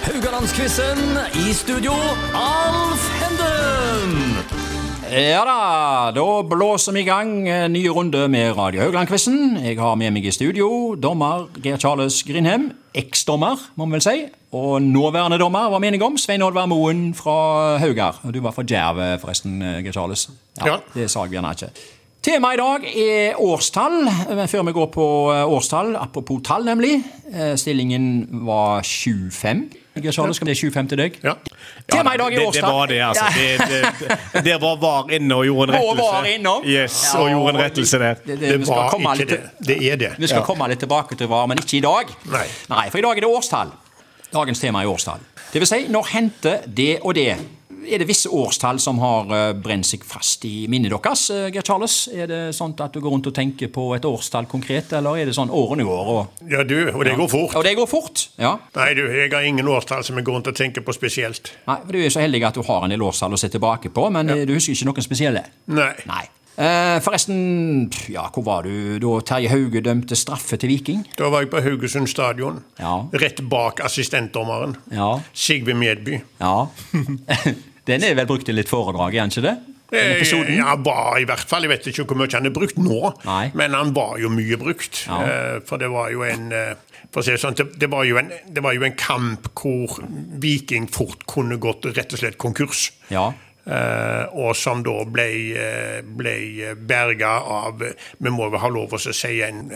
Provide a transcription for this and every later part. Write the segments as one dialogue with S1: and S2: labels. S1: Rogalandsquizen. I studio, Alf Henden.
S2: Ja da, da blåser vi i gang eh, ny runde med Radio Haugland-quizen. Jeg har med meg i studio dommer Geir Charles Grindheim, eksdommer, må vi vel si. Og nåværende dommer var meningen om, Svein Oddvar Moen fra Haugar. Og du var fra Djerv, eh, forresten, eh, Geir Charles.
S3: Ja.
S2: Det sa jeg gjerne ikke. Temaet i dag er årstall. Men før vi går på eh, årstall, apropos tall, nemlig. eh, Stillingen var 7-5. Geir Charles, skal det 7-5 til deg?
S3: Ja.
S2: Tema i dag er
S3: det, det
S2: årstall.
S3: var det, altså. Det, det, det, der var VAR inne og gjorde en
S2: Og
S3: rettelse.
S2: var innom.
S3: Yes, og
S2: Ja,
S3: gjorde en rettelse der.
S2: Det, det,
S3: Det
S2: vi skal
S3: var
S2: komme
S3: ikke
S2: litt-
S3: det. Det er det.
S2: Vi skal
S3: Ja.
S2: komme litt tilbake til hva, men ikke i dag.
S3: Nei.
S2: for i dag er det årstall. Dagens tema er årstall. Det vil si, når hendte det og det? Er det visse årstall som har eh, brent seg fast i minnet deres, eh, Geir Charles? Er det sånn at du går rundt og tenker på et årstall konkret, eller er det sånn årene går? Og,
S3: Ja, du, og det går fort.
S2: og det går fort. Ja.
S3: Nei, du, jeg har ingen årstall som jeg går rundt og tenker på spesielt.
S2: Nei, for Du er jo så heldig at du har en del årstall å se tilbake på, men eh, du husker ikke noen spesielle?
S3: Nei.
S2: Nei. Eh, forresten, pff, ja, hvor var du da Terje Hauge dømte straffe til Viking?
S3: Da var jeg på Haugesund stadion,
S2: Ja.
S3: rett bak assistentdommeren.
S2: Ja.
S3: Sigve Medby.
S2: Ja. Den er vel brukt i litt foredrag, er den ikke det? Den
S3: Eh,
S2: episoden.
S3: Ja, var i hvert fall. Jeg vet ikke hvor mye han er brukt nå,
S2: Nei.
S3: men han var jo mye brukt.
S2: Ja.
S3: Eh, For det var jo en eh, for å si det, sånn, det, det, var jo en, det var jo en kamp hvor Viking fort kunne gått rett og slett konkurs.
S2: Ja.
S3: Eh, og som da ble, eh, ble berga av eh, Vi må vel ha lov å si en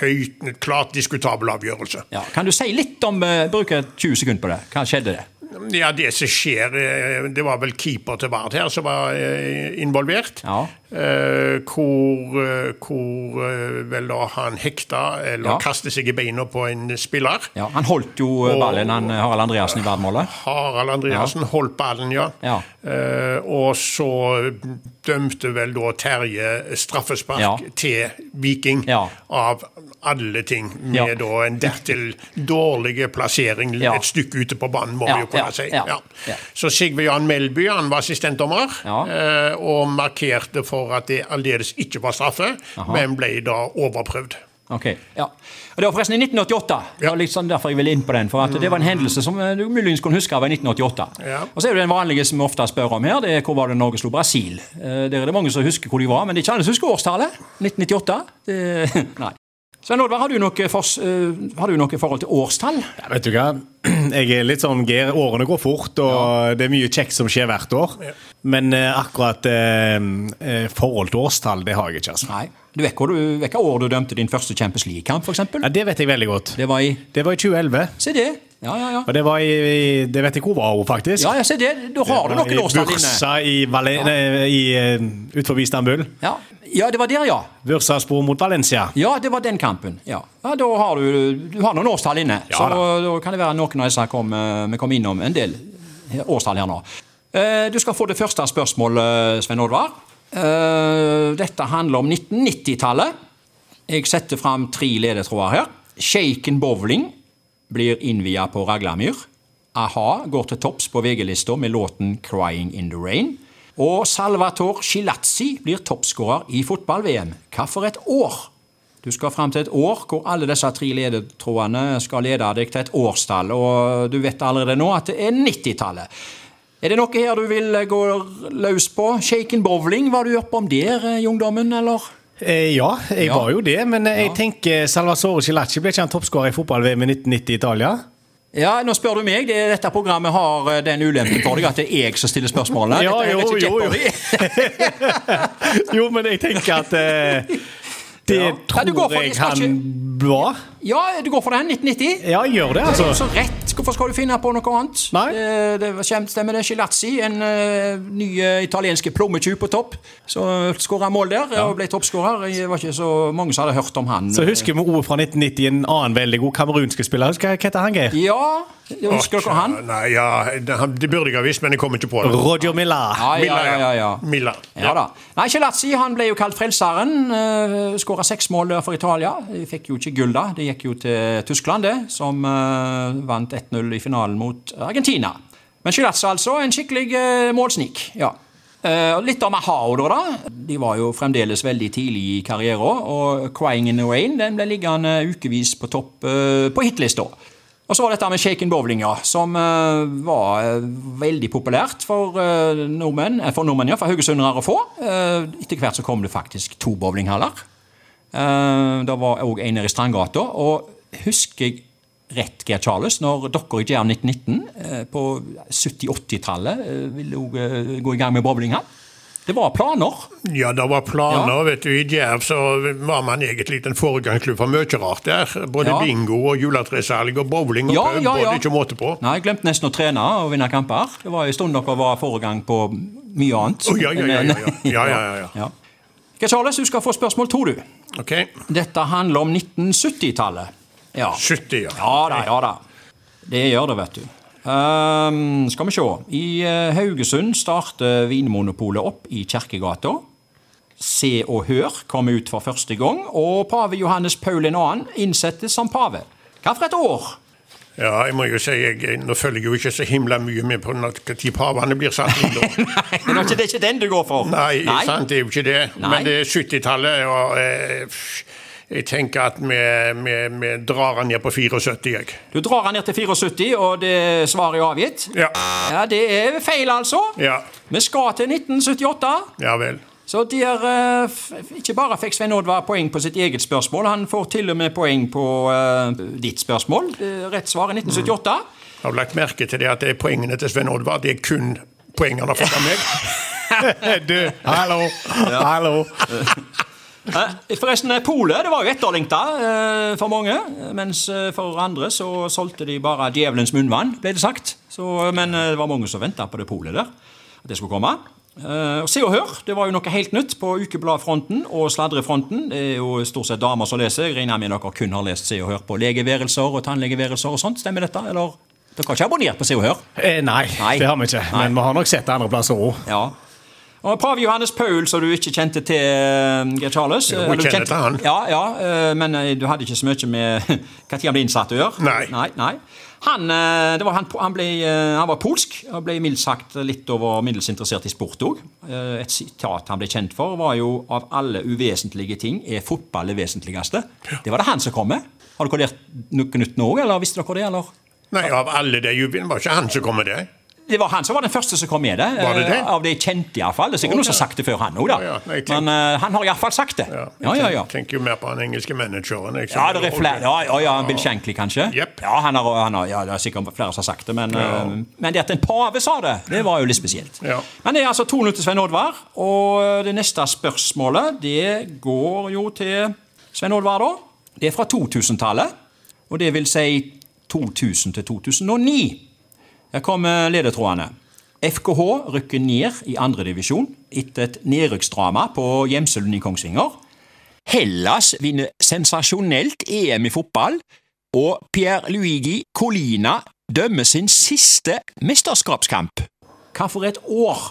S3: høyt, klart diskutabel avgjørelse.
S2: ja. Kan du si litt om uh, Bruke 20 sekunder på det. Hva skjedde det?
S3: Ja, det som skjer eh, Det var vel keeper til Vard her som var eh, involvert.
S2: Ja.
S3: Eh, hvor eh, hvor eh, vel da han hekta eller
S2: Ja.
S3: kastet seg i beina på en spiller.
S2: Ja, Han holdt jo eh, ballen, han eh, Harald Andreassen, i verdensmålet.
S3: Harald Andreassen holdt ballen, ja.
S2: Ja.
S3: Eh, og så dømte vel da Terje straffespark
S2: Ja.
S3: til Viking,
S2: Ja.
S3: av alle ting. Med
S2: Ja.
S3: da en dertil dårlig plassering
S2: Ja.
S3: et stykke ute på banen, må
S2: Ja,
S3: vi jo
S2: ja,
S3: kunne si.
S2: ja,
S3: Ja.
S2: ja.
S3: Så Sigve Jan Melby han var assistentdommer,
S2: Ja.
S3: eh, og markerte for at det aldeles ikke var straffe, men ble da overprøvd.
S2: Ok, ja. Og Det var forresten i 1988. Det var litt sånn derfor jeg ville inn på den, for at det var en hendelse som eh, du muligens kunne huske av i 1988.
S3: Ja.
S2: Og så er det den vanlige som vi ofte spør om her, det er hvor var det Norge slo Brasil? Eh, Der er det mange som husker hvor de var, men det er ikke alle som husker årstallet. 1998. Det, nei. Svein Oddvar, har, du noe fors- eh, har du noe forhold til årstall?
S4: Ja, vet du hva, jeg er litt sånn Geir. Årene går fort, og det er mye kjekt som skjer hvert år. Men eh, akkurat eh, eh, forhold til årstall, det har jeg ikke, altså.
S2: Nei. Du vet hvor, du, vet hva år du dømte din første Champions League-kamp, f.eks.?
S4: Ja, det vet jeg veldig godt.
S2: Det var i
S4: Det var i 2011.
S2: Se det! Ja, ja, ja.
S4: Og det var i, i Det vet jeg hvor var, faktisk.
S2: Ja, ja, se det. Da har du noen årstall
S4: I
S2: inne.
S4: Bursa i Valen... nei, I, eh, ut forbi Istanbul.
S2: Ja. ja, det var der, ja.
S4: Bursaspor mot Valencia.
S2: Ja, det var den kampen. Ja, ja Da har du, du har noen årstall inne.
S4: Ja
S2: så da.
S4: da.
S2: kan det være noen av disse kom, eh, vi kom innom en del he- årstall her nå. Eh, Du skal få det første spørsmålet, Svein Oddvar. Eh, Dette handler om 1990-tallet. Jeg setter fram tre ledetråder her. Shaken bowling blir innvia på Raglamyr. A-ha går til topps på VG-lista med låten 'Crying in the Rain'. Og Salvator Shilazzi blir toppskårer i fotball-VM. Hva for et år? Du skal fram til et år hvor alle disse tre ledetrådene skal lede deg til et årstall. Og du vet allerede nå at det er 90-tallet. Er det noe her du vil gå løs på? Shaken bowling, var du oppe om der, eh, i ungdommen, eller?
S4: Eh, ja, jeg
S2: Ja.
S4: var jo det, men eh, jeg
S2: Ja.
S4: tenker Salvatore Cilacci ble ikke han toppskårer i fotball-VM i 1990 i Italia?
S2: Ja, nå spør du meg. Det, dette programmet har eh, den ulempen for deg at det er jeg som stiller spørsmålene.
S4: Ja,
S2: Dette er
S4: jo,
S2: litt
S4: jo, jo.
S2: Jeopardy.
S4: Jo, men jeg tenker at eh, det
S2: Ja. Ja,
S4: tror
S2: du går for det,
S4: jeg
S2: skal
S4: han var.
S2: Ja, du går for den. 1990.
S4: Ja, jeg gjør det,
S2: Det er jo
S4: altså.
S2: så rett. Hvorfor skal du finne på noe annet?
S4: Nei.
S2: Det, det var kjent, stemmer det. Gilazzi, en eh, ny eh, italienske plommetjuv på topp, som skåra mål der og ble toppskårer. Det var ikke så mange som hadde hørt om han.
S4: Så husker vi ordet fra 1990, en annen veldig god kamerunske spiller. Husker jeg, Hva heter han, Geir?
S2: Ja, husker dere han?
S3: Nei, ja, det, han- det burde jeg ha visst, men jeg kom ikke på det.
S4: Roger Milla.
S2: Ja, ja, ja, ja, ja.
S3: Milla.
S2: Ja da. Nei, Kjelazzi han ble jo kalt frelseren. Uh, Skåra seks mål der for Italia. De fikk jo ikke gull, da. Det gikk jo til Tyskland, det, som eh, vant 1-0 i finalen mot Argentina. Men Kjelazzi, altså. En skikkelig eh, målsnik. ja. Eh, og litt om Ahao, da, da. De var jo fremdeles veldig tidlig i karrieren. Og Crying in the Rain den ble liggende ukevis på topp eh, på hitlista. Og så var dette med shaken bowling, ja, som eh, var eh, veldig populært for eh, nordmenn, eh, for nordmenn, ja, for haugesundere å få. Eh, etter hvert så kom det faktisk to bowlinghaller. Eh, det var òg en nede i Strandgata. Og husker jeg rett, Geir Charles, når dere i Jam 1919 eh, på 70-80-tallet eh, ville òg eh, gå i gang med bowling her? Det var planer.
S3: Ja, det var planer,
S2: Ja.
S3: vet du. I Djerv så var man egentlig en foregangsklubb for mye rart der. Både
S2: Ja.
S3: bingo og juletresalg og bowling og
S2: Ja, ja,
S3: pub,
S2: ja.
S3: og det er ikke måte på.
S2: Nei, jeg glemte nesten å trene og vinne kamper. Det var en stund dere var foregang på mye annet.
S3: Å, ja, ja, ja, ja, ja. Ja, ja, ja, ja.
S2: Geir Charles, du skal få spørsmål to, du.
S3: Ok,
S2: Dette handler om 1970-tallet. Ja.
S3: 70, ja.
S2: ja da, ja da. Det gjør det, vet du. Ehm, skal vi se. I eh, Haugesund starter Vinmonopolet opp i Kjerkegata. Se og Hør kom ut for første gang, og pave Johannes Paul 2. innsettes som pave. Hva for et år?
S3: Ja, jeg må jo si, jeg, nå følger jeg jo ikke så himla mye med på når- hva tid pavene blir satt inn da.
S2: Nei, det er ikke- det er ikke den du går for.
S3: Nei, sant, det er jo ikke det.
S2: Nei.
S3: Men det er 70-tallet, og eh, pff, jeg tenker at vi, vi, vi drar den ned på 74, jeg.
S2: Du drar han ned til 74, og det svaret er avgitt.
S3: Ja,
S2: Ja, det er feil, altså.
S3: ja,
S2: Vi skal til 1978.
S3: ja vel.
S2: Så der eh, f- Ikke bare fikk Svein Oddvar poeng på sitt eget spørsmål, han får til og med poeng på eh, ditt spørsmål. Eh, Rett svar er 1978.
S3: Jeg har lagt merke til det at det er poengene til Sven Oddvar, det er kun poengene fra meg.
S4: Du, hallo! Hallo!
S2: Eh, Forresten, eh, polet det var jo etterlengta eh, for mange. eh, Mens eh, for andre så solgte de bare djevelens munnvann, ble det sagt. Så, eh, men eh, det var mange som venta på det polet der. At det skulle komme. Eh, og Se og Hør det var jo noe helt nytt på ukebladfronten og sladrefronten. Det er jo stort sett damer som leser. Jeg regner med dere kun har lest Se og Hør på legeværelser og tannlegeværelser og sånt. Stemmer dette? Eller dere har ikke abonnert på Se og Hør?
S4: Eh, nei,
S2: Nei.
S4: det har vi ikke. Men vi har nok sett det andre plasser òg.
S2: Ja. Og Pave Johannes Paul, som du ikke kjente til, eh, Geir Charles.
S3: Jo, jeg
S2: Eller du
S3: kjenner
S2: kjente-
S3: til han.
S2: Ja, ja, eh, men eh, du hadde ikke så mye med når han ble innsatt å gjøre.
S3: Nei.
S2: nei, nei. Han, eh, det var han, han, ble, eh, han var polsk og ble mildt sagt litt over middels interessert i sport òg. Et sitat han ble kjent for, var jo 'av alle uvesentlige ting er fotball det vesentligste'. Det var det han som kom med. Har dere lært noe nytt nå òg, eller visste dere det? eller?
S3: Nei, av alle de jubileene var ikke han som kom med det.
S2: Det var han som var den første som kom med det.
S3: Var det det?
S2: eh, Av de kjente, iallfall. Det er sikkert noen som har sagt det før, han òg, da.
S3: Ja, ja, nei, jeg tenkte-
S2: Men eh, han har iallfall sagt det.
S3: Ja,
S2: Ja, ja, ja.
S3: Jeg tenker jo mer på den engelske manageren. jeg, som-
S2: Ja, det er flere. Ja, ja, ja, Bill Shankly, kanskje?
S3: Jepp.
S2: Ja, han har, han har, ja, det er sikkert flere som har sagt det, men, eh, men det at en pave sa det, det var jo litt spesielt.
S3: Ja.
S2: Men det er altså 2-0 til Svein Oddvar, og eh, det neste spørsmålet det går jo til Svein Oddvar, da. Det er fra 2000-tallet, og det vil si 2000 til 2009. Her kommer ledetrådene. FKH rykker ned i andredivisjon etter et nedrykksdrama på Gjemselen i Kongsvinger. Hellas vinner sensasjonelt EM i fotball, og Pierluigi Colina dømmer sin siste mesterskapskamp. Hva for et år!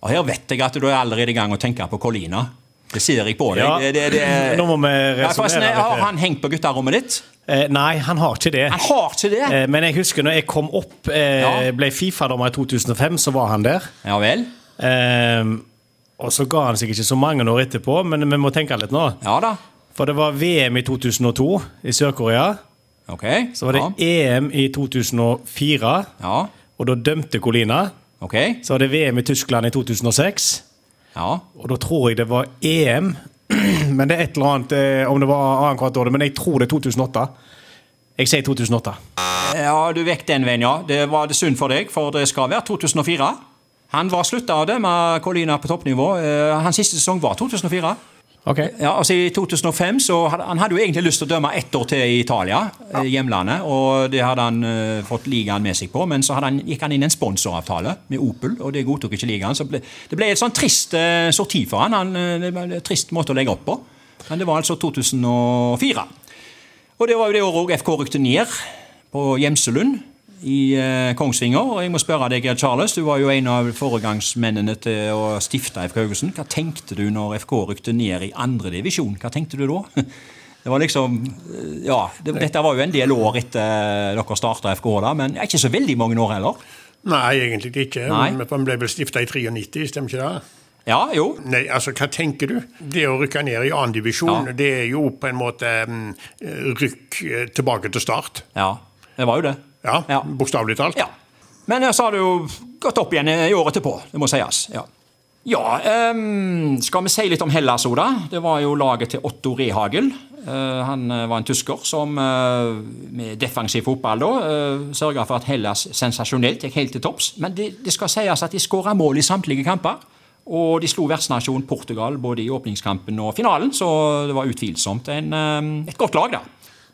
S2: Og Her vet jeg at du er allerede i gang å tenke på Colina. Det ser jeg på deg.
S4: Ja,
S2: Det, det, det,
S4: nå må vi resonnere
S2: Ja, forresten,
S4: litt her.
S2: Har han hengt på gutterommet ditt?
S4: Eh, nei, han har ikke det.
S2: Han har ikke det!
S4: Eh, men jeg husker når jeg kom opp, eh,
S2: Ja.
S4: ble Fifa-dommer i 2005, så var han der.
S2: Ja vel?
S4: Eh, og så ga han seg ikke så mange år etterpå, men vi må tenke litt nå.
S2: Ja da.
S4: For det var VM i 2002 i Sør-Korea.
S2: Ok.
S4: Så var det EM i 2004,
S2: Ja. ja.
S4: og da dømte Colina.
S2: Ok.
S4: Så var det VM i Tyskland i 2006,
S2: Ja.
S4: og da tror jeg det var EM. Men det er et eller annet eh, om det var annethvert år, men jeg tror det er 2008. Jeg sier 2008.
S2: Ja, du vekk den veien, ja. Det var det synd for deg, for det skal være 2004. Han var slutta av det med Colina på toppnivå. Eh, Hans siste sesong var 2004.
S4: Ok.
S2: Ja, altså I 2005 så hadde, han hadde jo egentlig lyst til å dømme ett år til i Italia, eh, hjemlandet. og Det hadde han eh, fått ligaen med seg på, men så hadde han, gikk han inn i en sponsoravtale med Opel, og det godtok ikke ligaen. så ble, Det ble et sånn trist eh, sorti for han, han eh, det var en trist måte å legge opp på. Men det var altså 2004. Og det var jo det året òg FK rykte ned på Gjemselund i eh, Kongsvinger. Og jeg må spørre deg, Gerd Charles, du var jo en av foregangsmennene til å stifte FK Haugesund. Hva tenkte du når FK rykte ned i andre divisjon? Hva tenkte du da? Det var liksom, eh, ja, det, Dette var jo en del år etter dere starta FK, da, men ikke så veldig mange år heller.
S3: Nei, egentlig ikke.
S2: Nei.
S3: Men Han ble vel stifta i 93, stemmer ikke det?
S2: Ja, jo.
S3: Nei, altså, hva tenker du? Det å rykke ned i annen divisjon,
S2: Ja.
S3: det er jo på en måte mm, rykk eh, tilbake til start.
S2: Ja. Det var jo det.
S3: Ja,
S2: Ja.
S3: Bokstavelig talt.
S2: Ja. Men eh, så har det jo gått opp igjen eh, i året etterpå, det må sies. Ja, ja ehm, skal vi si litt om Hellas òg, da? Det var jo laget til Otto Rehagel. Eh, han eh, var en tysker som eh, med defensiv fotball da, uh, sørga for at Hellas sensasjonelt gikk helt til topps. Men det, det skal sies at de skåra mål i samtlige kamper. Og de slo vertsnasjonen Portugal både i åpningskampen og finalen, så det var utvilsomt en, eh, et godt lag, da.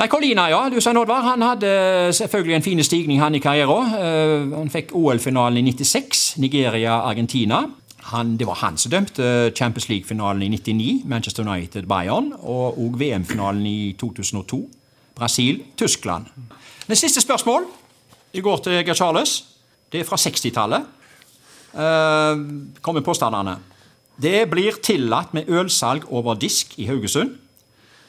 S2: Nei, Colina, ja. Du Svein Oddvar. Han hadde selvfølgelig en fin stigning han i karrieren. Eh, han fikk OL-finalen i 96, Nigeria-Argentina. Han, det var han som dømte Champions League-finalen i 99, Manchester United-Bayern, og, og VM-finalen i 2002, Brasil-Tyskland. Det siste spørsmål det går til Geir Charles. Det er fra 60-tallet. Eh, kommer påstandene. Det blir tillatt med ølsalg over disk i Haugesund.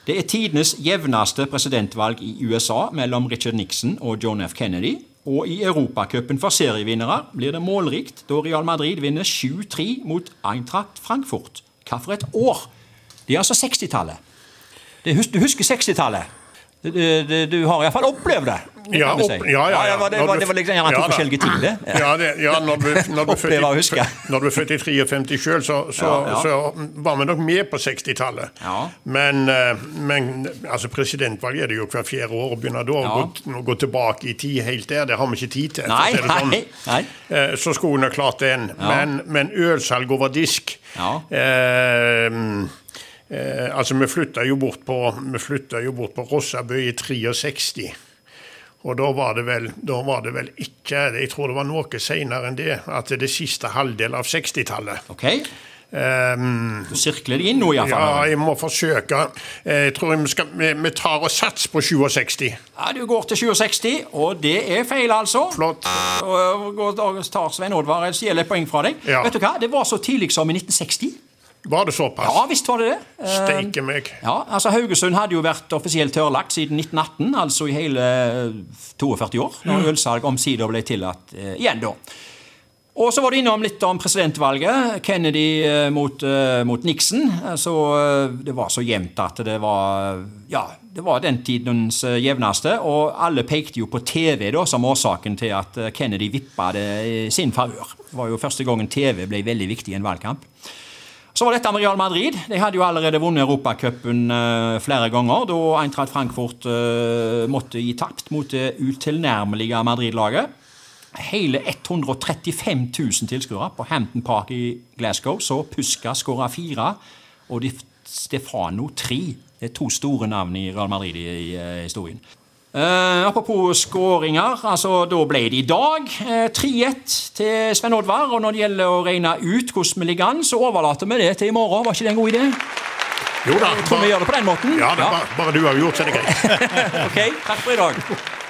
S2: Det er tidenes jevneste presidentvalg i USA mellom Richard Nixon og John F. Kennedy. Og i Europacupen for serievinnere blir det målrikt da Real Madrid vinner 7-3 mot Eintracht Frankfurt. Hva for et år! Det er altså 60-tallet. Det hus- Du husker 60-tallet? Du, du, du har iallfall opplevd det. kan
S3: Ja,
S2: vi si.
S3: opp- ja, ja, ja.
S2: det, var, det, var, det var liksom gjerne to
S3: Ja, da.
S2: forskjellige tider.
S3: Ja, det, ja når, du, når, du er født i-
S2: Oppleve og huske.
S3: når du er født i 53 sjøl, så, så,
S2: Ja, ja.
S3: så var vi nok med på 60-tallet.
S2: Ja.
S3: Men, eh, men altså, presidentvalg er det jo hver fjerde år, og begynner da å
S2: Ja.
S3: gå, å gå tilbake i tid helt der, det har vi ikke tid til. for å
S2: Nei,
S3: si det sånn.
S2: nei, nei.
S3: Eh, Så skulle hun ha klart den. Men, men ølsalg over disk
S2: Ja.
S3: eh, eh, Altså, vi flytta jo bort på, vi flytta jo bort på Rossabø i 63. Og da var det vel, da var det vel ikke Jeg tror det var noe seinere enn det, at det siste halvdel av 60-tallet.
S2: Ok,
S3: Ehm,
S2: Du sirkler det inn nå,
S3: ja,
S2: iallfall.
S3: jeg må forsøke. Eh, Jeg tror vi, skal, vi, vi tar og satser på 67.
S2: Ja, du går til 67, og det er feil, altså.
S3: Flott.
S2: Og går- og tar Svein Oddvar et stjeler poeng fra deg.
S3: Ja.
S2: Vet du hva? Det var så tidlig som i 1960.
S3: Var det såpass?
S2: Ja, visst var det det. Eh,
S3: Steike meg.
S2: Ja, altså Haugesund hadde jo vært offisielt tørrlagt siden 1918, altså i hele eh, 42 år, når ølsalg omsider ble tillatt eh, igjen da. Og så var du innom litt om presidentvalget. Kennedy eh, mot, eh, mot Nixon. Eh, Så eh, det var så jevnt at det var Ja, det var den tidens eh, jevneste. Og alle pekte jo på TV da som årsaken til at eh, Kennedy vippa det i sin favør. Det var jo første gangen TV ble veldig viktig i en valgkamp. Så var dette med Real Madrid. De hadde jo allerede vunnet Europacupen eh, flere ganger da Eintracht Frankfurt eh, måtte gi tapt mot det utilnærmelige Madrid-laget. Hele 135 000 tilskuere på Hampton Park i Glasgow. Så Puska skåra fire, og Di Stefano tre. Det er to store navn i Real Madrid i, i eh, historien. Eh, apropos skåringer, altså da ble det i dag eh, 3-1 til Sven Oddvar. Og når det gjelder å regne ut hvordan vi ligger an, så overlater vi det til i morgen. Var ikke det en god idé?
S3: Jo da.
S2: Tror vi gjør det på den måten?
S3: Ja, det, er bare, bare du har gjort, så er det greit.
S2: Ok, takk for i dag.